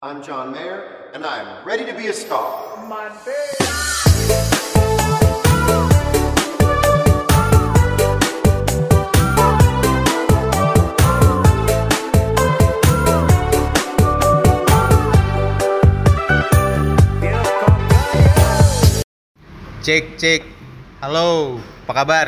I'm John Mayer, and I'm ready to be a star. My baby. Cek cek. Halo, apa kabar?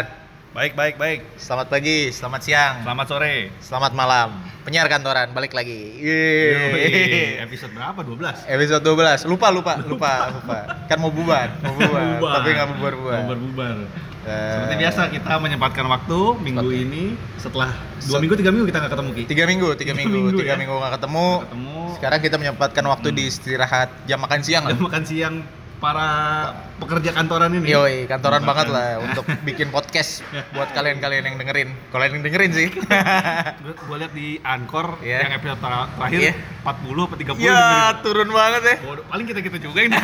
Baik, baik, baik. Selamat pagi, selamat siang, Selamat sore. selamat malam. Penyiar kantoran balik lagi. Yoi, Yeay. Episode berapa? 12. Episode 12. Lupa, lupa, lupa, lupa. Kan mau bubar, mau bubar. Bubar. Tapi nggak bubar bubar. Bubar, bubar. Eh, Seperti biasa kita menyempatkan waktu minggu ini setelah dua Se- minggu tiga minggu kita nggak ketemu Ki. Tiga minggu, tiga minggu, minggu tiga ya. minggu nggak ketemu. Nggak ketemu. Sekarang kita menyempatkan waktu di istirahat jam makan siang lah. Udah makan siang para pekerja kantoran ini. Yoi, kantoran Makan. banget lah untuk bikin podcast buat kalian-kalian yang dengerin. Kalau yang dengerin sih. Gue gue Eh, lihat di Anchor Iya. yang episode ter- terakhir Iya. 40 atau 30 ya, dengerin. turun banget ya. Bodoh, paling kita-kita juga ini.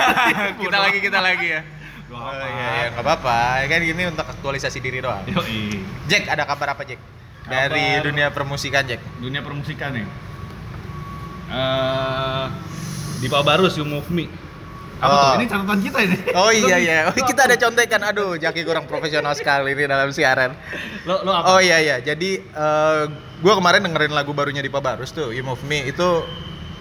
kita lagi, kita lagi ya. Doa Oh, apa? iya, iya, nggak apa-apa. Kan ini untuk aktualisasi diri doang. Yoi. Jack, ada kabar apa Jack? Kabar- Dari dunia permusikan Jack. Dunia permusikan nih. Eh di Pak Barus You Move Me. Apa Oh. tuh? Ini catatan kita ini. Lo Oh iya bi- iya, lo Oh, kita apa? ada contekan. Aduh, Jaki kurang profesional sekali ini dalam siaran. Lo lo apa? Oh iya iya, jadi eh, gua kemarin dengerin lagu barunya Dipa Barus tuh, You Move Me itu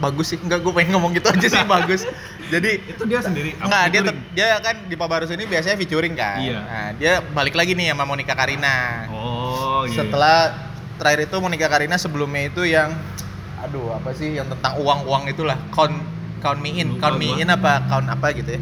bagus sih. Enggak, gue pengen ngomong gitu aja sih bagus. Jadi Itu dia sendiri. apa Enggak, dia featuring? tet- dia kan di Pabarus ini biasanya featuring kan. Iya. Nah, dia balik lagi nih sama Monica Karina. Oh iya. Setelah terakhir itu Monica Karina sebelumnya itu yang aduh apa sih yang tentang uang-uang itulah count count me in, Lupa count me gua. in apa count apa gitu ya.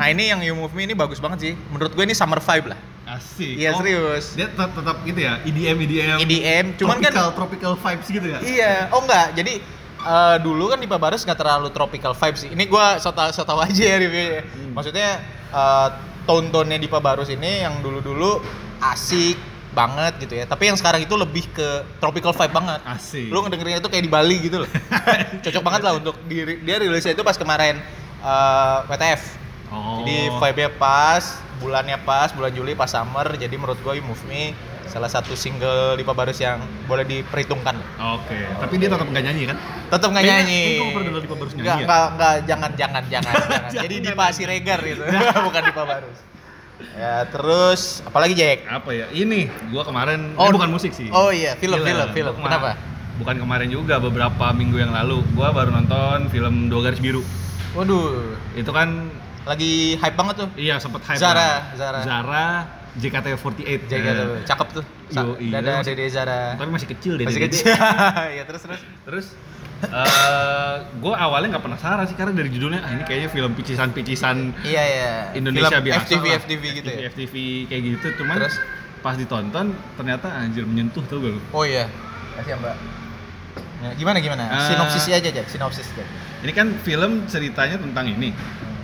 Nah, ini yang You Move Me ini bagus banget sih. Menurut gue ini summer vibe lah. Asik. Oh, Iya, serius. Dia tetap tetap gitu ya, EDM EDM. EDM, cuman kan tropical, tropical vibes gitu ya. Iya, oh enggak. Jadi eh, dulu kan di Pabarus nggak terlalu tropical vibes sih. Ini gua sota sota aja ya reviewnya. Hmm. Maksudnya eh tone-tone-nya di Pabarus ini yang dulu-dulu asik banget gitu ya. Tapi yang sekarang itu lebih ke tropical vibe banget. Asik. Lu ngedengerinnya itu kayak di Bali gitu loh. Cocok banget lah untuk diri dia rilisnya itu pas kemarin eh, WTF. Oh. Jadi vibe-nya pas, bulannya pas, bulan Juli pas summer. Jadi menurut gua You Move Me salah satu single di Pabarus yang boleh diperhitungkan. Oke, tapi dia tetap nggak nyanyi kan? tetap nggak Kayaknya- nyanyi. kayaknya gua pernah dengar Dipa Barus nyanyi Nggak, ya. nggak, nggak, jangan, jangan, jangan, jangan. Jangan, Jadi di jangan. Nah. Pak Siregar gitu, bukan di Pak Barus. Ya terus, apalagi Jack? Apa ya? Ini gua kemarin Oh, eh, bukan musik sih. oh iya, film, film, Gua film. kemar- Kenapa? Bukan kemarin juga, beberapa minggu yang lalu gua baru nonton film Dua Garis Biru. Waduh, Itu kan lagi hype banget tuh. iya sempat hype. Zara, lah. Zara. Zara JKT48. Jack Nah, tuh, cakep tuh. Sa- Yoi, Dada masih- Dede Zara. Tapi masih kecil dia. ya. Masih dia- kecil. ya terus terus. Terus gue awalnya nggak penasaran sih karena dari judulnya ah ini kayaknya film picisan-picisan Iya ya. Indonesia film biasa FTV lah. FTV gitu ya. FTV kayak gitu cuman Terus? pas ditonton ternyata anjir menyentuh tuh gue Oh iya. Kasih ya, Mbak. Ya, gimana gimana? Eh, Sinopsisnya aja Jack, sinopsis Jack. ini kan film ceritanya tentang ini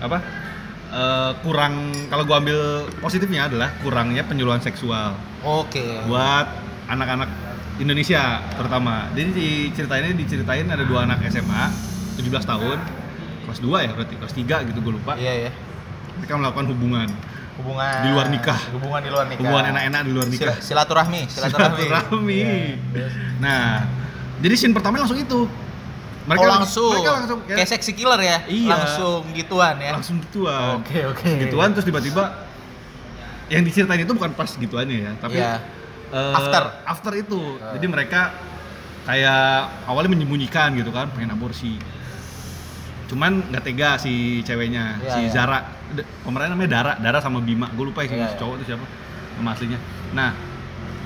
apa Eh, kurang kalau gue ambil positifnya adalah kurangnya penyuluhan seksual Oke. buat anak-anak Indonesia terutama. Jadi di ceritainnya diceritain ada dua anak SMA 17 tahun kelas 2 ya berarti kelas 3 gitu gue lupa Iya ya. mereka melakukan hubungan hubungan Di luar nikah. hubungan di luar nikah Hubungan enak-enak di luar nikah. Sila- silaturahmi silaturahmi, Silaturahmi. Iya. Nah, jadi scene pertama langsung itu. oh, langsung mereka langsung kayak, kayak seksi killer ya Iya. langsung gituan ya langsung gituan. Oke, oke. Gituan terus tiba-tiba yang diceritain itu bukan pas gituannya ya, tapi Iya. eh, After. after itu. Eh. Jadi mereka kayak awalnya menyembunyikan gitu kan, pengen aborsi. Cuman nggak tega si ceweknya, Iya, si iya. Zara. D- Pemerannya namanya Dara, Dara sama Bima. Gue lupa sih Iya, iya. si cowok itu siapa nama aslinya. Nah,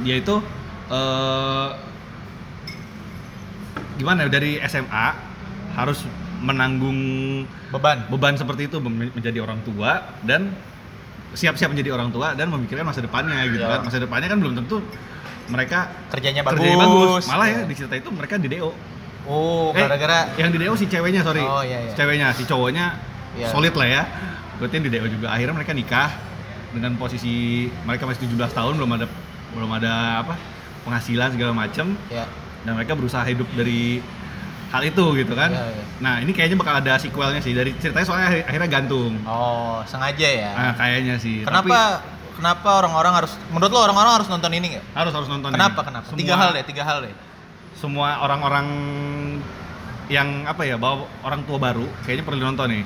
dia itu eh gimana ya, dari SMA harus menanggung beban beban seperti itu mem- menjadi orang tua dan siap-siap menjadi orang tua dan memikirkan masa depannya gitu Iya. kan masa depannya kan belum tentu mereka kerjanya bagus, kerjanya bagus malah ya Iya. di cerita itu mereka di DO oh Eh, gara-gara yang di DO si ceweknya sorry Oh, iya, iya. Si ceweknya si cowoknya Iya. solid lah ya berarti yang di DO juga akhirnya mereka nikah dengan posisi mereka masih 17 tahun belum ada belum ada apa penghasilan segala macem ya dan mereka berusaha hidup dari hal itu gitu kan Iya, iya. nah ini kayaknya bakal ada sequelnya sih dari ceritanya soalnya akhir- akhirnya gantung oh sengaja ya Ah, kayaknya sih. Tapi kenapa kenapa orang-orang harus menurut lo orang-orang harus nonton ini nggak harus harus nonton. kenapa ini. kenapa Semua, tiga hal deh tiga hal deh Semua orang-orang yang apa ya bawa orang tua baru kayaknya perlu nonton nih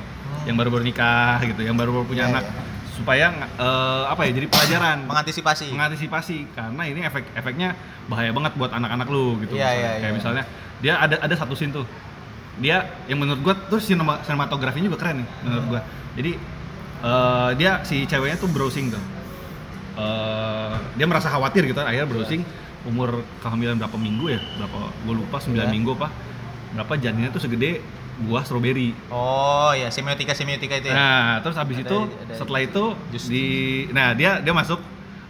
yang baru baru nikah gitu yang baru baru punya Hmm. Iya, anak supaya eh, apa ya jadi pelajaran mengantisipasi mengantisipasi karena ini efek-efeknya bahaya banget buat anak-anak lu gitu. Iya, misalnya. iya, Kayak iya. misalnya dia ada ada satu scene tuh. Dia yang menurut gua terus sinema- sinematografinya juga keren nih menurut gua. Jadi eh, dia si ceweknya tuh browsing tuh. Eh, dia merasa khawatir gitu akhirnya browsing umur kehamilan berapa minggu ya? Berapa gua lupa 9 Iya. minggu apa? Berapa janinnya tuh segede buah stroberi. oh ya semiotika semiotika itu ya Nah, terus habis Ada- itu ada- setelah itu jus. di nah dia dia masuk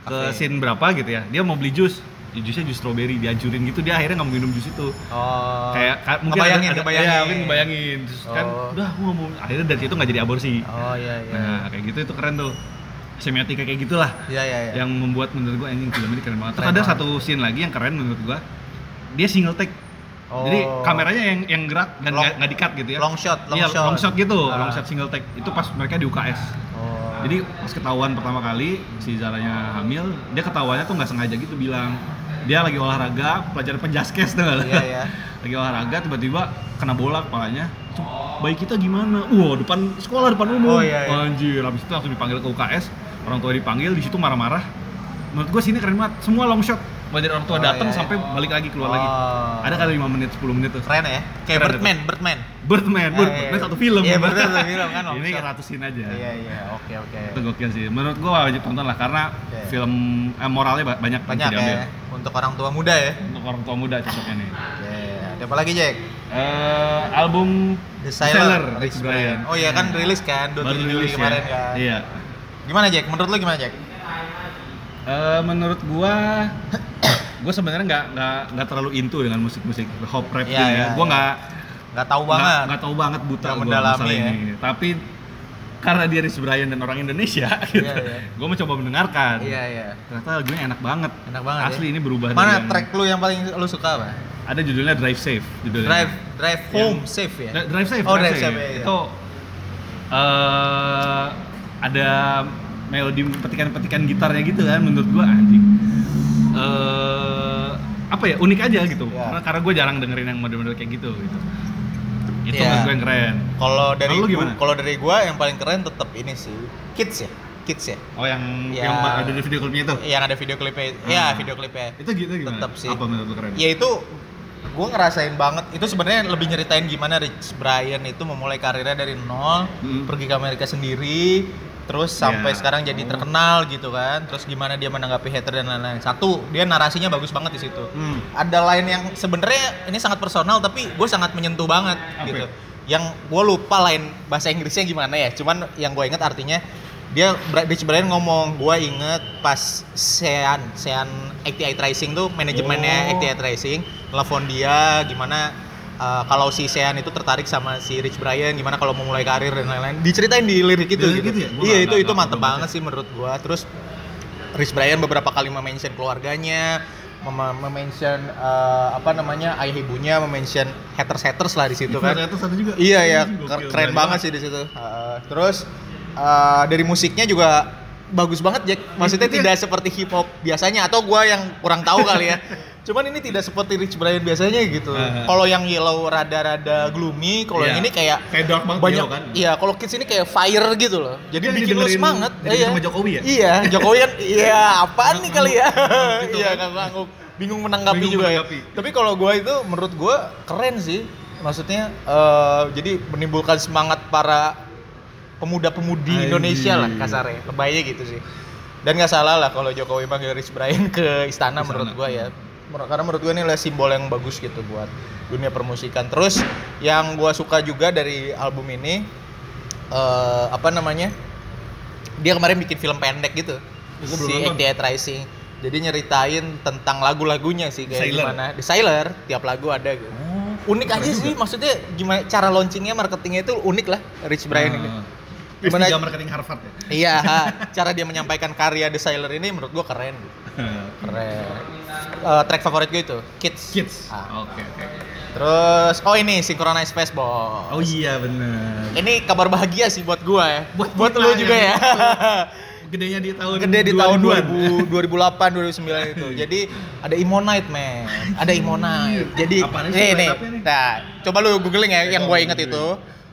ke Oke. scene berapa gitu ya. Dia mau beli jus. Jusnya jus strawberry dianjurin gitu dia akhirnya nggak mau minum jus itu. oh Kayak ka- mungkin ngebayangin, ada, ada, ngebayangin. ya, mungkin ngebayangin. Terus kan Oh. udah aku nggak mau akhirnya dari situ nggak jadi aborsi. oh iya iya Nah, kayak gitu itu keren tuh. Semiotika kayak gitulah iya iya iya yang membuat menurut gua anjing film ini keren banget. Terus Keren ada banget. satu scene lagi yang keren menurut gua. Dia single take. Oh. Jadi kameranya yang yang gerak dan Long- nggak nggak di-cut gitu ya. long shot, long Iya, shot. long shot gitu, Ah. long shot single take. Itu pas mereka di UKS. oh Jadi pas ketahuan pertama kali si Zaranya hamil, dia ketahuannya tuh nggak sengaja gitu bilang dia lagi olahraga, pelajaran penjaskes tuh. nggak lu? Iya, iya. lagi olahraga tiba-tiba kena bola kepalanya. Terus, Bayi kita gimana? Wow, depan sekolah, depan umum. Oh, iya, iya. Anjir, habis itu langsung dipanggil ke UKS, orang tua dipanggil, di situ marah-marah. Menurut gua sini keren banget, semua long shot. Mulai dari orang tua Oh, datang iya, iya. sampai balik lagi keluar Oh. lagi. Ada kali 5 menit, 10 menit tuh. keren ya kayak Keren Birdman Birdman Birdman, Iya, Birdman, iya. satu film. Iya, Birdman satu film kan, long Ini shot. ratusin aja. iya iya oke oke itu gokil sih menurut gua wajib tonton lah karena Oke. film eh, moralnya ba- banyak yang Iya. banyak diambil. ya untuk orang tua muda ya untuk orang tua muda cocoknya nih oke ada apa lagi Jack Eh, album The Sailor, Rich Brian Oh iya kan rilis kan 27 Juli kemarin ya. kan. iya Gimana Jack? Menurut lu gimana Jack? Eh, menurut gua gua sebenarnya nggak nggak nggak terlalu into dengan musik-musik hop rap Iya, gitu iya, ya gua iya. nggak Nggak tahu nggak banget. nggak tahu banget buta Nggak gua mendalami masalah ya. ini tapi karena dia Rich Brian dan orang Indonesia gitu iya. gua mencoba mendengarkan Iya iya. ternyata lagunya enak banget Enak banget. asli ya. ini berubah dari Mana yang- track lu yang paling lu suka apa? ada judulnya Drive Safe judulnya. Drive Drive Yang- Home Safe ya. Iya. Dri- Drive Safe. Oh, Drive Safe, ya. iya, iya. Itu eh ada melodi petikan-petikan gitarnya gitu kan menurut gua anjing. Eh apa ya unik aja gitu. Iya. Karena, karena gua jarang dengerin yang model-model kayak gitu gitu. Itu Iya. menurut gua yang keren. Kalau dari Kalau lu gua- gimana? kalau dari gua yang paling keren tetap ini sih. Kids ya. Kids ya. Oh yang Iya. yang ada di video klipnya itu. Yang ada video klipnya. Ya, video klipnya. Itu gitu gimana? Tetap sih. Apa menurut lu keren? Ya itu gua ngerasain banget itu sebenarnya lebih nyeritain gimana Rich Brian itu memulai karirnya dari nol Mm. pergi ke Amerika sendiri terus sampai Ya. sekarang jadi terkenal gitu kan terus gimana dia menanggapi hater dan lain-lain satu dia narasinya bagus banget di situ Hmm. ada lain yang sebenarnya ini sangat personal tapi gue sangat menyentuh banget Apa ya? gitu yang gue lupa lain bahasa Inggrisnya gimana ya cuman yang gue inget artinya dia Bra- Rich Brian ngomong gue inget pas Sean Sean ATI Tracing tuh manajemennya Oh. ATI Tracing telepon dia gimana uh, kalau si Sean itu tertarik sama si Rich Brian gimana kalau mau mulai karir dan lain-lain diceritain di lirik itu Di lirik itu gitu, ya? Gua iya nggak- itu nggak- ya. itu nggak mantep pernah baca. banget sih menurut gue terus Rich Brian beberapa kali mention keluarganya, mem- mention eh, apa namanya ayah ibunya, mention haters haters lah di situ Itu kan. satu juga. Iya ya, Hmm, Gokil, keren, banget sih di situ. Eh, terus eh, dari musiknya juga bagus banget Jack. Maksudnya Itu- itu- tidak seperti hip hop biasanya atau gua yang kurang tahu kali ya. Cuman ini tidak seperti Rich Brian biasanya gitu. Ah. Kalau yang yellow rada-rada gloomy, kalau Iya. yang ini kayak Kayak dark banget banyak yellow kan. iya kalau kids ini kayak fire gitu loh jadi Dia lagi bikin lo dengerin- semangat lagi iya. sama Jokowi ya? iya Jokowi kan iya apaan nih kali ya gitu iya kan. kan sanggup bingung menanggapi Bingung juga menanggapi. ya tapi kalau gua itu menurut gua keren sih maksudnya eh, jadi menimbulkan semangat para pemuda-pemudi Anjing. Indonesia lah kasarnya kebayanya gitu sih dan nggak salah lah kalau Jokowi manggil Rich Brian ke Istana. istana, Hmm. menurut gua ya Mer- karena menurut gue ini adalah simbol yang bagus gitu buat dunia permusikan terus yang gua suka juga dari album ini eh, apa namanya dia kemarin bikin film pendek gitu Ya, gua belum si nonton. ATI Rising jadi nyeritain tentang lagu-lagunya sih kayak Sailor. gimana The Sailor tiap lagu ada gitu Oh, unik keren aja sih juga. maksudnya gimana cara launchingnya marketingnya itu unik lah Rich Brian ini Ah. Gimana- S3 marketing Harvard ya. iya ha. cara dia menyampaikan karya The Sailor ini menurut gua keren keren Eh, track favorit gue itu Kids Kids. Ah. Oke, oke. terus oh ini Synchronized Baseball Oh iya bener. ini kabar bahagia sih buat gua ya Buat buat kita lu ya. juga ya gedenya di tahun gede di tahun 2000-an. 2000, 2008 2009 Iya. itu jadi ada Imonite man ada Imonite jadi Apaan sih nih nih Imonite-nya nih? nah coba lu googling Iya, ya yang gue inget itu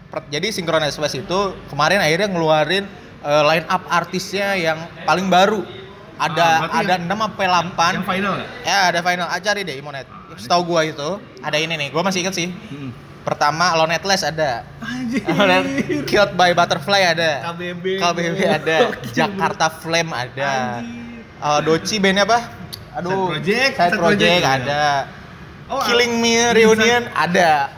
Per- jadi Synchronize Fest itu kemarin akhirnya ngeluarin eh, line up artisnya yang paling baru Ah, ada berarti ada yang- 6 apa 8 Yang final nggak? ya ada final ah, cari deh Imonite setahu gua itu ada ini nih gua masih inget sih Hmm. pertama Lonetless ada Anjir. Killed by Butterfly ada KBB. KBB ada Jakarta Flame ada Eh, Doci bandnya apa? Aduh, Side Project, Side Side Project Project ada Oh, Killing Me Inside- Reunion ada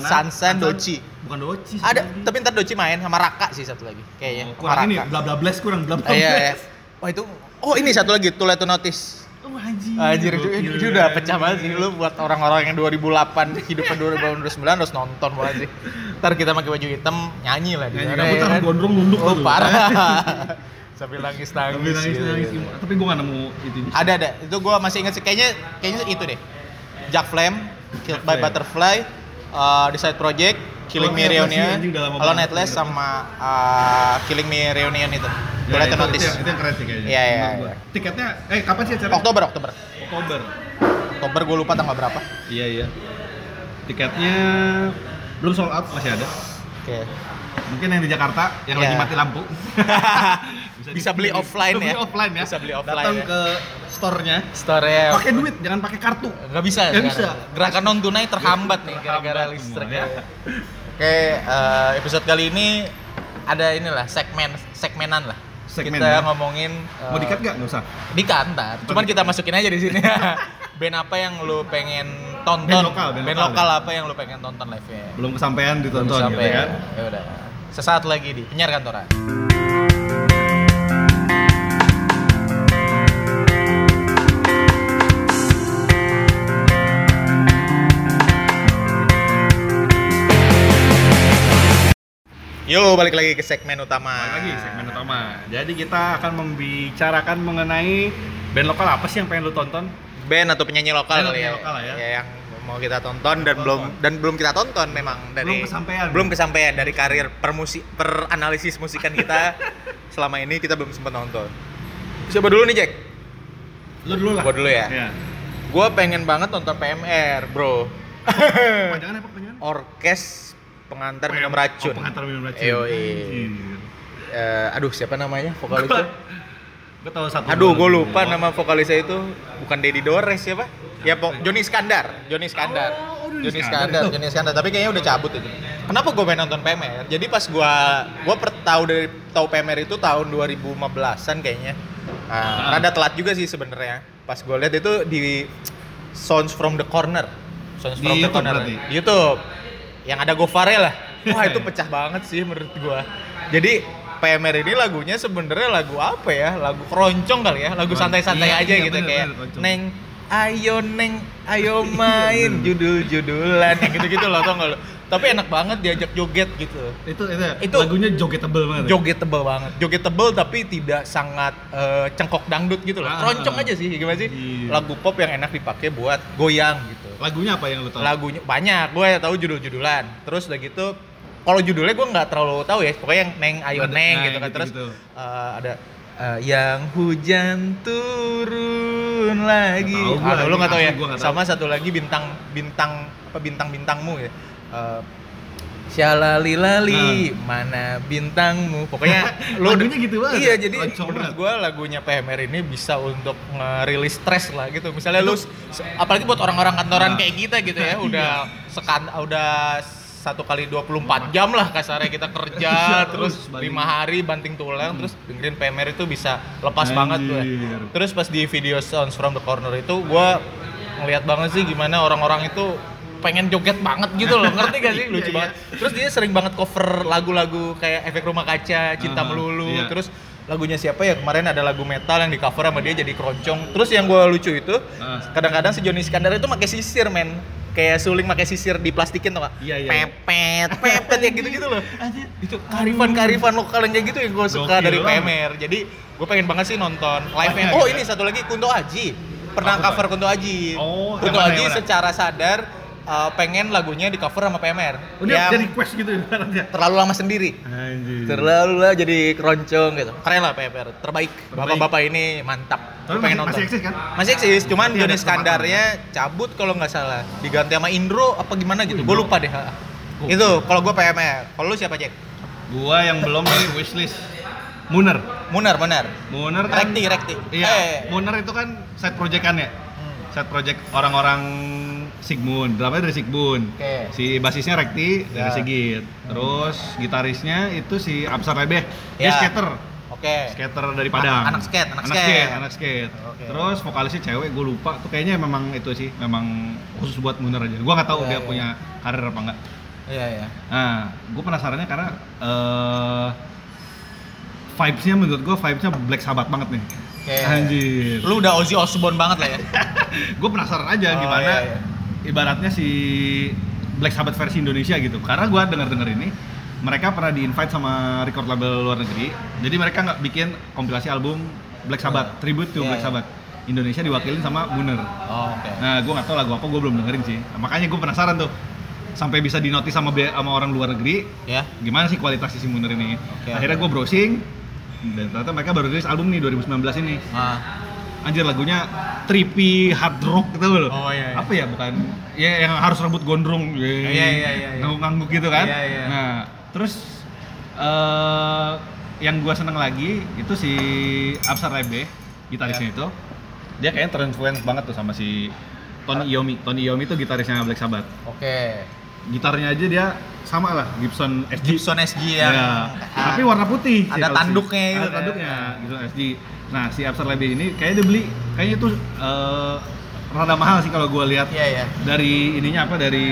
Onat, Sansan, Sansan. Doci Bukan Doci. sih, ada, anjing. tapi ntar Doci main sama Raka sih satu lagi Oh, kayaknya sama kurang ini Raka. bla bla blast kurang bla bla Ah, iya, iya. blast. Wah itu, oh ini satu lagi, Too Late to Notice Oh, anjir. iya. Anjir, itu, Gokil, itu udah anjing. pecah banget sih lu buat orang-orang yang 2008 kehidupan 2009 harus nonton banget sih. Ntar kita pakai baju hitam nyanyi lah di Nyanyi, sana, rambut ya harus kan? gondrong, nunduk oh, tau lu. parah. Sambil nangis nangis. iya, Tapi nangis nangis. Tapi gua nggak nemu itu. Ada ada. Itu gua masih inget sih kayaknya kayaknya itu deh. Jack Flame, Killed by Flame. Butterfly, uh, The Side Project, Killing Oh, Me iya, pasti, Reunion, anjing, udah lama Alone banget. at Last sama uh, Killing Me Reunion itu. Ya, Boleh itu- ternotis. Itu, yang- itu yang keren sih kayaknya. Iya, iya, Menurut gua. iya. Tiketnya eh kapan sih acaranya? Oktober Oktober. Oktober. Oktober gua lupa tanggal berapa. Iya, iya. Tiketnya belum sold out masih ada. Oke. Mungkin yang di Jakarta yang Iya. lagi mati lampu. Bisa beli di- offline beli ya. offline ya. Bisa beli offline Datang ya. Iya. ke store-nya. Store-nya ya. Pakai duit, jangan pakai kartu. Nggak bisa Nggak sekarang. bisa. Gerakan non tunai terhambat nih gara-gara Terhambat listrik semua, ya. ya. Oke, eh, episode kali ini ada inilah segmen segmenan lah. Segmen, ya. kita ngomongin eh, Mau dikat nggak? Nggak usah. Dikat ntar. Cuman kita masukin aja di sini. band apa yang lu pengen tonton? Band lokal, band Band lokal ya. lokal apa yang lu pengen tonton live-nya? Belum kesampaian ditonton Sampai gitu kan. Ya udah. Sesaat lagi di penyiar kantoran. Yo, balik lagi ke segmen utama. Balik lagi segmen utama. Jadi kita akan membicarakan mengenai band lokal apa sih yang pengen lu tonton? Band atau penyanyi lokal Band atau kali ya. penyanyi lokal lah ya. yang mau kita tonton Tonton. dan belum dan belum kita tonton memang dari Belum kesampaian. belum kesampaian dari karir permusi peranalisis musikan kita selama ini kita belum sempat nonton. Coba dulu nih Jack. Lu dulu lah. Gua dulu ya. Iya. Gua pengen banget nonton PMR, Bro. Panjangan apa panjangan? Orkes Oh, pengantar Eh. minum iya. racun. Oh, pengantar minum racun. Yoi. Anjir. Eh, aduh siapa namanya vokalisnya? Gua tahu satu. Aduh, gue doang. lupa nama vokalisnya itu bukan Dedi Dores siapa? Ya, po- Joni Iskandar, Joni Iskandar. Oh, Joni Joni Iskandar Iskandar, itu. Joni Iskandar, kan, tapi kayaknya udah cabut itu. Kenapa gue pengen nonton PMR? Jadi pas gue gue per, tahu dari tahu PMR itu tahun 2015-an kayaknya. Nah, Ah. rada telat juga sih sebenarnya. Pas gue lihat itu di Sounds from the Corner. Sounds Di from the YouTube Corner. berarti? Iya, Di YouTube. Yang ada Gofare lah. Wah, itu pecah banget sih menurut gua. Jadi PMR ini lagunya sebenarnya lagu apa ya? Lagu keroncong kali ya, lagu Keroncong. santai-santai Iya, aja iya, gitu bener, kayak bener, keroncong. neng ayo neng ayo main judul-judulan yang gitu-gitu loh tau nggak lo. Tapi enak banget diajak joget gitu. Itu itu, Itu- lagunya jogetable banget. ya? Joget tebel banget. Joget tebel tapi tidak sangat eh, cengkok dangdut gitu loh. Ah. Keroncong aja sih gimana sih? Iya. Lagu pop yang enak dipakai buat goyang gitu. Lagunya apa yang lu tahu? lagunya banyak gue tahu judul-judulan terus udah gitu kalau judulnya gue nggak terlalu tahu ya pokoknya yang neng ayo Ada- neng nah, gitu kan terus gitu-gitu. eh, ada eh, yang hujan turun lagi Nggak tahu gua, Aduh, lu nggak tahu ya asli gua nggak tahu. sama satu lagi bintang bintang apa bintang bintangmu ya Eh, Shalali lali mana bintangmu pokoknya lu Nah. Lagunya gitu banget. iya jadi Kocok menurut banget. gue lagunya PMR ini bisa untuk ngerilis stres lah gitu misalnya lu s- apalagi buat orang-orang kantoran Nah. kayak kita gitu ya Iya. udah sekan udah satu kali 24 jam lah kasarnya kita kerja Iya, terus terus balik. Hmm. lima hari banting tulang terus dengerin PMR itu bisa lepas Anjir. banget gue terus pas di video Sounds from the Corner itu gue ngeliat banget sih gimana orang-orang itu pengen joget banget gitu loh ngerti gak sih Iya, lucu banget terus dia sering banget cover lagu-lagu kayak efek rumah kaca cinta Aha, melulu iya. terus lagunya siapa ya kemarin ada lagu metal yang di cover sama dia jadi keroncong terus yang gue lucu itu Ah. kadang-kadang si Johnny Iskandar itu pakai sisir men kayak suling pakai sisir diplastikin tuh Iya, iya, iya. pepet pepet ya gitu-gitu loh Anjir, itu karifan karifan lokal yang kayak gitu yang gue suka Gokil dari banget. PMR jadi gue pengen banget sih nonton live Banyak oh ya? ini satu lagi Kunto Aji pernah Apa tuh, cover Kunto Aji Oh, yang Kunto mana, Aji yang mana? secara sadar eh, pengen lagunya di cover sama PMR Oh, dia, yang dia request gitu ya dia. terlalu lama sendiri Anjir. terlalu lah jadi keroncong gitu keren lah PMR terbaik Terbaik. bapak-bapak ini mantap Tapi Gua masih- masih eksis kan? masih eksis cuman Berarti ada Johnny kesempatan. Skandarnya cabut kalau nggak salah diganti sama Indro apa gimana gitu Wih, gue bro. lupa deh ha. Gua- itu kalau gue PMR kalau lu siapa Jack Gua yang belum di wishlist. Muner. Munar Munar Muner kan. Rekti Rekti Iya. Eh. Muner itu kan side project kan ya. Hmm. Side project orang-orang Sigmund, drummer dari Sigmund. Oke. Si basisnya Rekti dari Ya. Sigit. Terus gitarisnya itu si Absar Lebeh. Dia Ya. skater. oke Skater dari Padang. anak skate, anak anak skate. skate, anak skate. Oke. Terus vokalisnya cewek, gue lupa. Tuh kayaknya memang itu sih, memang khusus buat Muner aja. Gue nggak tahu Iya, dia iya. punya karir apa enggak. iya iya Nah, gue penasarannya karena eh vibes-nya menurut gue vibes-nya Black Sabbath banget nih. oke Anjir. lu udah Ozzy Osbourne banget lah ya Gue penasaran aja Oh, gimana iya, iya. ibaratnya si Black Sabbath versi Indonesia gitu. Karena gue denger-denger ini mereka pernah di-invite sama record label luar negeri. Jadi mereka nggak bikin kompilasi album Black Sabbath, tribute to Iya, Black iya. Sabbath. Indonesia diwakilin sama Muner. oh, oke Nah, gue nggak tahu lagu apa, gue belum dengerin sih. Nah, makanya gue penasaran tuh sampai bisa dinotis sama be- sama orang luar negeri ya gimana sih kualitas si Muner ini. Oke, Akhirnya oke. gue browsing dan ternyata mereka baru rilis album nih 2019 ini. ah Anjir lagunya trippy hard rock gitu loh. Oh, iya, iya. Apa ya bukan? Ya yang harus rambut gondrong. ya. iya, iya, iya. Ngangguk-ngangguk gitu kan. Iya, iya. Nah, terus eh yang gua seneng lagi itu si Absar Rebe, gitarisnya itu. Iya. Dia kayaknya terinfluence banget tuh sama si Tony Iommi. Tony Iommi itu gitarisnya Black Sabbath. oke Gitarnya aja dia sama lah Gibson SG Gibson ya? SG Iya. yang Tapi warna putih. sih ada kalau sih. tanduknya gitu Ada kan. tanduknya gitu SD. Nah, si Absar Lab ini kayaknya dia beli kayaknya itu eh, rada mahal sih kalau gua lihat iya iya dari ininya apa dari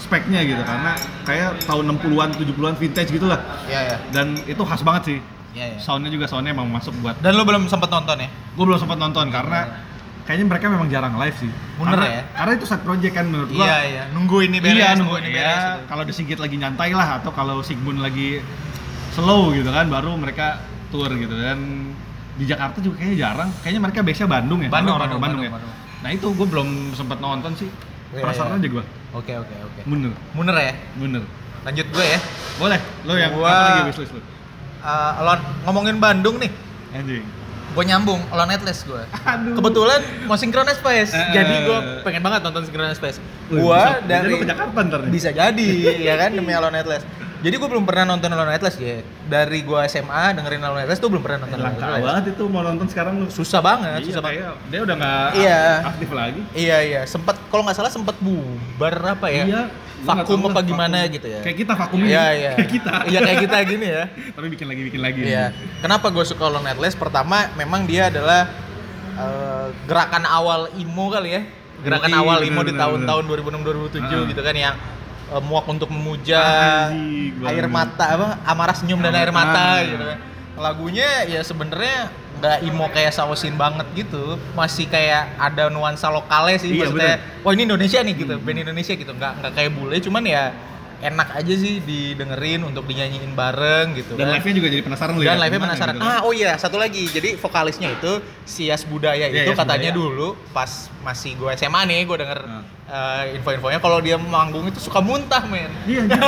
speknya gitu karena kayak tahun 60-an 70-an vintage gitu lah. iya iya Dan itu khas banget sih. iya iya Soundnya juga soundnya emang masuk buat dan lu belum sempet nonton ya gue belum sempat nonton karena kayaknya mereka memang jarang live sih. Bener karena, ya? Karena itu side project kan menurut gua iya iya nunggu ini beres iya nunggu ini beres gitu. ya kalau disigit lagi nyantai lah atau kalau Sigmund lagi slow gitu kan baru mereka tour gitu dan di Jakarta juga kayaknya jarang kayaknya mereka biasanya Bandung ya Bandung, karena orang-orang Bandung, Bandung, ya nah itu gue belum sempat nonton sih Iya, penasaran iya. aja gue oke oke oke bener Muner ya bener lanjut gue ya boleh lo yang Gua- apa lagi wishlist lo Eh, Elon ngomongin Bandung nih anjing gue nyambung Elon Atlas gue aduh kebetulan mau Synchronous Space Eh, jadi gue eh. pengen banget nonton Synchronous Space Wih, gue bisa- bisa dari lo ke Jakarta ntar nih bisa jadi ya kan demi Elon Atlas jadi gue belum pernah nonton Elon Atlas ya dari gue SMA dengerin Elon Atlas tuh belum pernah nonton Elon langka Atlas. banget itu mau nonton sekarang lo susah banget Iya, susah banget kayak dia udah nggak Iya. aktif lagi iya iya sempet kalau nggak salah sempet bubar apa ya Iya, gua nggak vakum tahu apa lah, gimana vakum. gitu ya Kayak kita vakumnya. iya iya Kayak kita. iya kayak kita gini ya Tapi bikin lagi bikin lagi. Iya. Kenapa gue suka Lone Atlas? Pertama, memang dia adalah eh, gerakan awal emo kali ya. Gerakan Yoi, awal emo di bener-bener. tahun-tahun Ah. 2006 2007 gitu kan yang eh, muak untuk memuja, Anjing, gua air bener. mata apa amarah senyum dan Amarah. air mata gitu kan. Lagunya ya sebenarnya nggak emo kayak sausin banget gitu, masih kayak ada nuansa lokalnya sih Iya, Hmm. maksudnya. Wah, ini Indonesia nih gitu, band Indonesia gitu. nggak nggak kayak bule, cuman ya enak aja sih didengerin untuk dinyanyiin bareng gitu Dan kan. live-nya juga jadi penasaran lu ya. Dan live-nya Gimana penasaran. gitu kan? Ah, oh iya, satu lagi. Jadi vokalisnya itu Sias Budaya Iya, itu Yas Budaya. katanya dulu pas masih gue SMA nih, gue denger Hmm. eh, info-infonya kalau dia manggung itu suka muntah, men. Iya, anjing.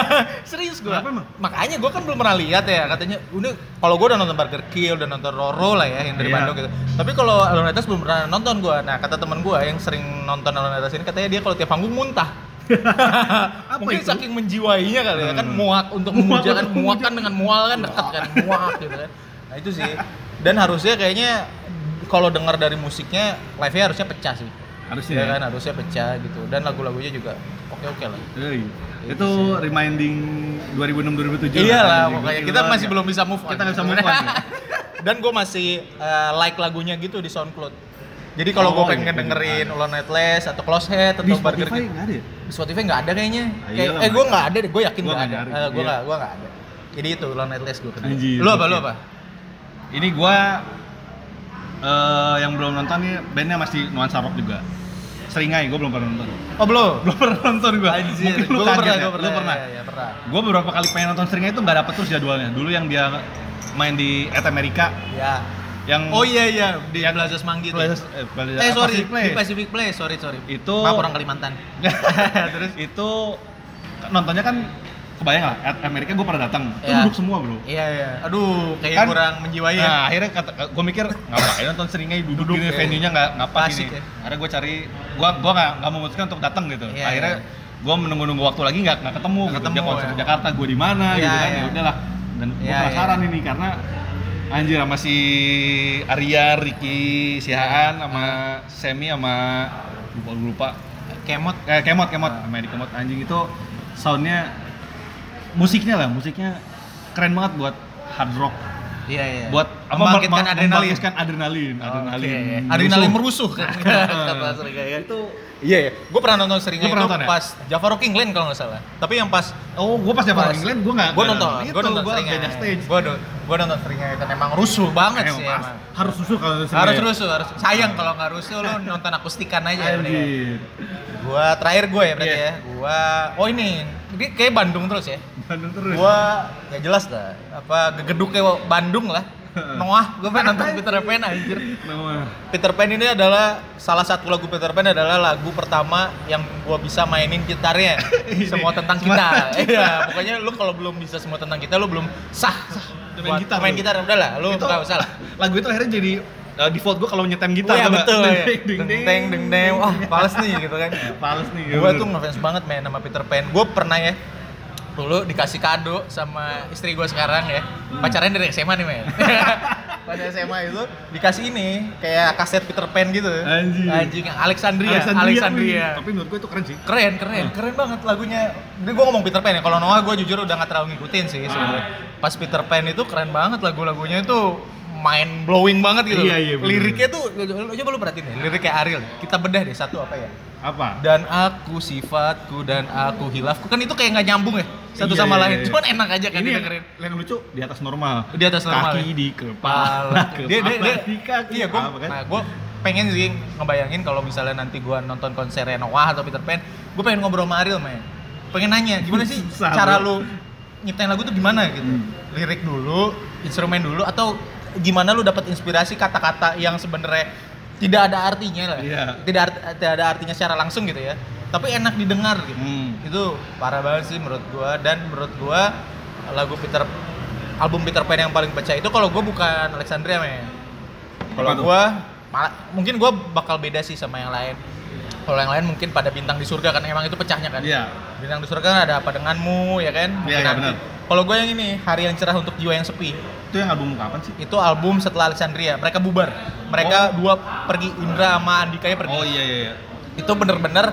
Serius gue. Kenapa emang? Makanya gue kan belum pernah lihat ya, katanya udah kalau gue udah nonton Burger Kill, udah nonton Roro lah ya yang dari Iya. Bandung gitu. Tapi kalau Alon Atas belum pernah nonton gue. Nah, kata teman gue yang sering nonton Alon Atas ini katanya dia kalau tiap panggung muntah. Mungkin itu? saking menjiwainya kali ya kan Hmm. muak untuk Muak memuja kan untuk muak kan dengan mual kan dekat kan muak gitu kan nah itu sih dan harusnya kayaknya kalau dengar dari musiknya live-nya harusnya pecah sih harusnya ya ya. kan harusnya pecah gitu dan lagu-lagunya juga oke oke lah Yoi. Iya. Itu reminding 2006 2007. iyalah Anjing, pokoknya gokil kita banget masih ya. belum bisa move on Kita nggak bisa move on. ya. dan gue masih eh, like lagunya gitu di SoundCloud jadi kalau Oh, gue iya, pengen iya. dengerin All Night Less atau Close Head atau Di Burger Spotify King nggak ada ya? di Spotify nggak ada kayaknya. Ah, Kayak, iyalah, eh gue makanya. nggak ada deh, gue yakin Gua nggak ada. nggak nyari, Eh, gue iya. nggak, gue nggak ada. Jadi itu Lone Atlas gue kenal. Anjir, Lu apa, oke. lu apa? Ini gua eh yang belum nonton nih bandnya masih nuansa rock juga. Seringai, gua belum pernah nonton. Oh belum. Belum pernah nonton gua. Anjir, Mungkin lu gua kaget pernah, ya. gua pernah. Lu pernah. Iya, iya, pernah. Gue beberapa kali pengen nonton Seringai itu nggak dapet terus jadwalnya. Dulu yang dia main di At America Ya. yang Oh iya iya di Yang- Plaza Semanggi itu. Plaza- eh, Plaza- eh sorry Pacific Place. di Pacific Place sorry sorry. Itu- Maaf orang Kalimantan. terus itu nontonnya kan kebayang lah Ad- Amerika gue pernah datang itu Iya. duduk semua bro Iya iya. Aduh kayak Kan- kurang Iya. menjiwai ya. nah akhirnya kata gue mikir ngapain nonton seringnya duduk, Duduk, gini ya. venue nya nggak ngapa Asik, sih ya. akhirnya gue cari gue gue nggak nggak memutuskan untuk datang gitu Iya, akhirnya iya. gue menunggu nunggu waktu lagi nggak nggak ketemu Nggak gitu. ketemu, dia konser ya. di Jakarta gue di mana Iya, gitu kan iya. ya udahlah dan gue Iya, penasaran ini karena anjir sama si Arya, Ricky, Sihaan, sama Semi, sama lupa gua lupa Kemot. eh, kemot kemot sama di kemot anjing itu soundnya musiknya lah musiknya keren banget buat hard rock Iya iya. buat membangkitkan me- me- adrenalin. membangkitkan kan adrenalin Ah, adrenalin Oke, iya. merusuh. Adrenalin merusuh kan. Kata sering kayak gitu. Iya, iya. Gue pernah nonton seringnya Lu itu pernah nonton ya? pas Java Rocking Lane kalau nggak salah. Tapi yang pas oh gue pas Pas. dapat England gue nggak gue nggak nonton, itu, gue nonton gua seringnya. beda stage Gue gue nonton seringnya dan emang rusuh banget Emang sih. pas. Emang. harus susu kalau Harus rusuh, harus. Sayang kalau nggak rusuh lu nonton akustikan aja. mendingan. anjir Gua terakhir gue ya berarti Iya. ya. Gua oh ini ini kayak Bandung terus ya. Bandung terus Gua ya jelas dah apa gegeduknya Bandung lah. Noah, gue pengen nonton Peter Pan anjir. nama Peter Pan ini adalah salah satu lagu Peter Pan adalah lagu pertama yang gua bisa mainin gitarnya. semua tentang kita. Iya, pokoknya lu kalau belum bisa semua tentang kita lu belum sah. sah Main buat gitar Main lu. gitar udah lah, lu Itu- nggak usah lah. lagu itu akhirnya jadi uh, default gue kalau nyetem gitar tau Iya nggak? betul. ya. Deng, deng, Deng deng, deng deng deng. Wah, pales nih gitu kan. Males nih ya Gue bener. tuh ngefans banget main sama Peter Pan. Gue pernah ya dulu dikasih kado sama istri gue sekarang ya pacarnya dari SMA nih men pas SMA itu dikasih ini kayak kaset Peter Pan gitu Anjing. anjing Alexandria Alexandria, wih. Tapi menurut gue itu keren sih. keren keren keren banget lagunya ini gue ngomong Peter Pan ya kalau Noah gue jujur udah nggak terlalu ngikutin Ah. sih sebenarnya pas Peter Pan itu keren banget lagu-lagunya itu mind blowing banget gitu Iya, iya, bener. liriknya tuh lu- coba lu perhatiin deh lirik kayak Ariel kita bedah deh satu apa ya Apa? dan aku sifatku dan aku hilafku kan itu kayak nggak nyambung ya satu Iya, sama iya, lain iya. cuman enak aja kan Ini yang, didengerin yang lucu di atas normal. Di atas normal, Kaki ya? di kepala. Kepala. dia dia dia kepala di kaki. iya gua Apa kan? nah gua pengen sih ngebayangin kalau misalnya nanti gua nonton konser Noah atau Peter Pan gua pengen ngobrol sama Ariel men pengen nanya gimana sih Susah, cara bro. lu nyiptain lagu tuh gimana gitu Hmm. lirik dulu instrumen dulu atau gimana lu dapat inspirasi kata-kata yang sebenarnya tidak ada artinya lah Iya. tidak art- tidak ada artinya secara langsung gitu ya tapi enak didengar gitu Hmm. itu parah banget sih menurut gua dan menurut gua lagu Peter album Peter Pan yang paling pecah itu kalau gua bukan Alexandria men kalau Apa tuh? gua malah mungkin gua bakal beda sih sama yang lain kalau yang lain mungkin pada bintang di surga kan emang itu pecahnya kan Iya. bintang di surga kan ada apa denganmu ya kan Iya, iya, Nanti. benar. kalau gua yang ini hari yang cerah untuk jiwa yang sepi Itu yang album kapan sih? itu album setelah Alexandria mereka bubar mereka dua pergi Indra sama Andikanya pergi Oh iya iya iya. itu bener-bener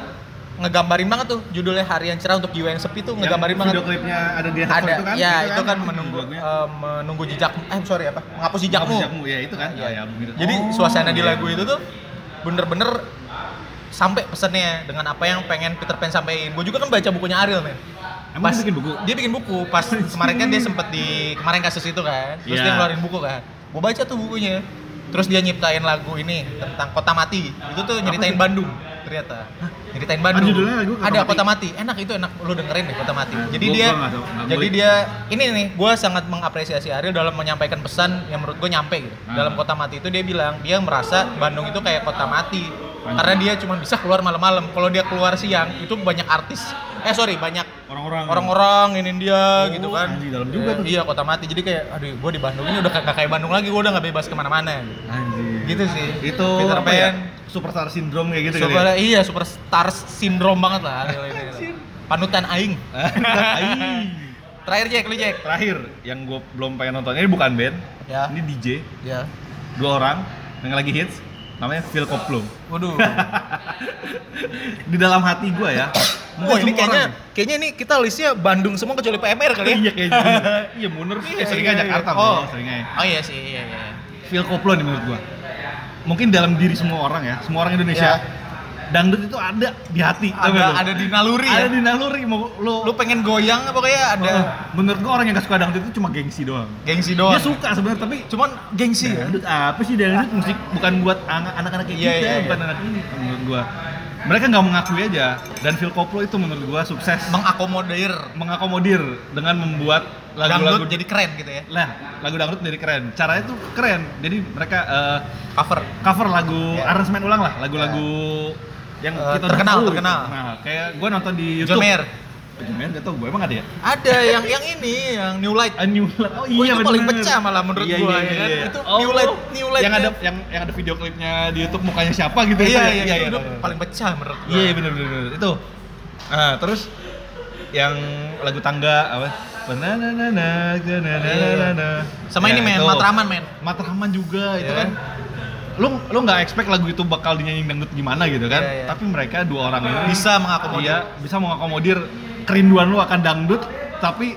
ngegambarin banget tuh judulnya harian cerah untuk jiwa yang sepi tuh ngegambarin Yang banget Video klipnya ada di atas ada itu kan? ya itu kan menunggu Judulnya. eh, menunggu jejak eh sorry apa menghapus Hapus jejakmu Jejakmu, ya itu kan. Iya. Ya, ya, album itu. jadi Oh, suasana di iya. lagu itu tuh bener-bener sampai pesennya dengan apa yang pengen Peter Pan sampein gue juga kan baca bukunya Ariel men Emang dia bikin buku? dia bikin buku pas kemarin kan dia sempet di kemarin kasus itu kan terus Iya. dia ngeluarin buku kan gue baca tuh bukunya terus dia nyiptain lagu ini tentang kota mati itu tuh nyeritain Bandung ternyata nyeritain Bandung Ah, judulnya lagu Kota ada Mati? Ah, kota mati enak itu enak lu dengerin deh kota mati jadi Gua- dia gua nggak tahu, nggak jadi boleh. dia Iya, ini nih gue sangat mengapresiasi Ariel dalam menyampaikan pesan yang menurut gue nyampe gitu Ah. dalam kota mati itu dia bilang dia merasa Bandung itu kayak kota mati Panjang. karena dia cuma bisa keluar malam-malam kalau dia keluar siang itu banyak artis eh sorry banyak Orang-orang. orang-orang ini dia gitu kan Oh, anjing, dalam juga Eh, tuh. iya kota mati jadi kayak aduh gue di Bandung ini udah gak kayak Bandung lagi gue udah nggak bebas kemana-mana gitu. Anjir. Gitu sih. Itu Peter apa ya? Pan. Superstar syndrome kayak gitu kali Super, iya superstar syndrome banget lah Ariel ini. panutan aing ya. Ai. terakhir Jack lu Jack Terakhir yang gue belum pengen nonton ini bukan band. Ya. Ini DJ. ya dua orang yang lagi hits namanya Phil Koplo waduh di dalam hati gua ya Wah Oh, ini semua kayaknya orang. kayaknya ini kita listnya Bandung semua kecuali PMR kali ya iya kayaknya iya mundur Iya, eh, seringnya iya, iya. Jakarta oh. bro, seringnya ya. oh iya sih iya iya Phil Koplo nih menurut gua mungkin dalam diri semua orang ya semua orang Indonesia Iya. dangdut itu ada di hati tau gak ada lu? ada di naluri ada ya di naluri mau lu lu pengen goyang apa kayak ada Oh, menurut gua orang yang gak suka dangdut itu cuma gengsi doang gengsi doang dia suka Iya, sebenarnya tapi cuman gengsi ya dangdut apa sih dangdut musik bukan buat anak- anak-anak kayak Iya, kita iya, bukan iya. anak ini menurut gua mereka nggak mengakui aja dan Phil Koplo itu menurut gua sukses mengakomodir mengakomodir dengan membuat lagu-lagu dangdut jadi keren gitu ya lah lagu dangdut jadi keren caranya tuh keren jadi mereka eh, cover cover lagu Ya. aransemen ulang lah lagu-lagu Iya. yang kita Eh, udah terkenal, tahu gitu. terkenal. nah kayak gua nonton di YouTube John Mayer John Mayer gak tau gue emang ada ya Ada yang yang ini yang New Light. A New Light. Oh Gua itu paling bener. pecah malah menurut Iya, gua, ya kan? Itu New Light- New Light yang ada dia. yang yang ada video klipnya di YouTube mukanya siapa gitu Iya, ya? iya, iya, itu tahu, tahu. paling pecah menurut gua. Iya iya, bener bener bener. itu. Nah terus yang lagu tangga apa? Banana-nana, banana-nana. sama Ya, ini men itu. Matraman men Ya. Matraman juga itu Iya. kan. Lu lu nggak expect lagu itu bakal dinyanyiin dangdut gimana gitu kan? Iya, iya. Tapi mereka dua orang ini Ya, bisa mengakomodir dia bisa mengakomodir kerinduan lu akan dangdut tapi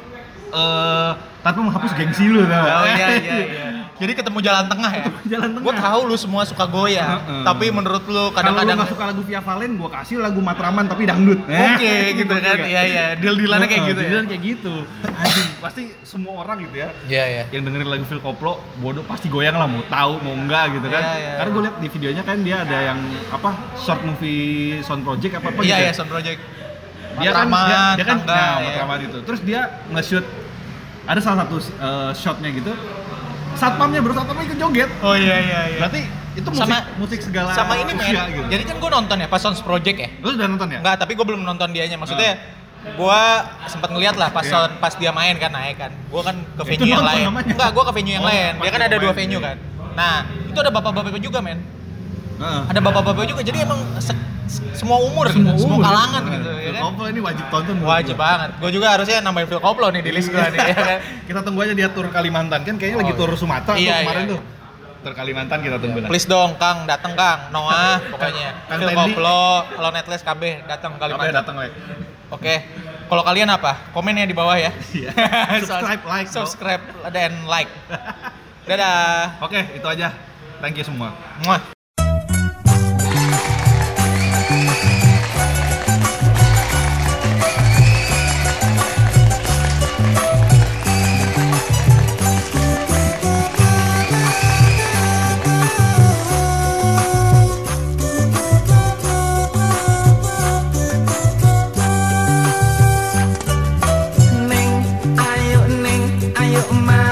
eh tapi menghapus gengsi lu tau nggak? Oh, iya, iya, iya. Jadi ketemu jalan tengah ya. Jalan tengah. Gue tahu lu semua suka goyah, Heeh. tapi menurut lu Kalau lu kadang-kadang nggak suka lagu Via Valen, gua kasih lagu Matraman tapi dangdut. oke Eh, gitu kan. Iya iya, deal-dealannya kayak gitu ya. Deal kayak gitu. Anjing, pasti semua orang gitu ya Iya, iya. yang dengerin lagu Phil Koplo bodoh pasti goyang lah mau tahu mau enggak gitu kan Iya, iya, karena gue lihat di videonya kan dia ada yang apa short movie sound project apa apa Iya gitu iya, Sound Project. dia kan dia, Matraman, dia kan Tangga, nah, ya. Matraman itu terus dia nge-shoot ada salah satu eh, shotnya gitu satpamnya baru satpamnya ikut joget Oh iya iya iya. berarti itu musik Sama- musik segala Sama ini men. usia gitu. Jadi kan gue nonton ya pas Sound Project ya. lu udah nonton ya Enggak, tapi gue belum nonton dianya. Maksudnya gue sempat ngeliat lah pas Iya. sound- pas dia main kan naik kan. Gue kan ke Itu venue yang nonton lain. namanya. Enggak, gue ke venue yang Oh, lain. Dia pas kan dia ada dua main. iya. venue kan. Nah, itu ada bapak-bapak juga men. Heeh. Ada bapak-bapak juga. Jadi emang se- se- semua umur, gitu, semua, Iya, umur. Oh, kalangan gitu Phil ya kan. Koplo ini wajib tonton menurut Wajib gua. banget. Gue juga harusnya nambahin Phil Koplo nih di list gue nih. ya kan? kita tunggu aja dia tur Kalimantan kan kayaknya lagi Oh, tur iya. Sumatera Iya, tuh kemarin iya. tuh tur Kalimantan kita tunggu lah Please dong Kang, dateng Kang, Noah pokoknya. Kang Phil Tendi. Koplo, kalau Netless KB datang kali Apa ya, datang Lek? Oke. Kalau kalian apa? Komen ya di bawah ya. Iya. Subscribe, like, bro. subscribe dan like. Dadah. oke itu aja thank you semua Muah. Neng, ayo neng, ayo ma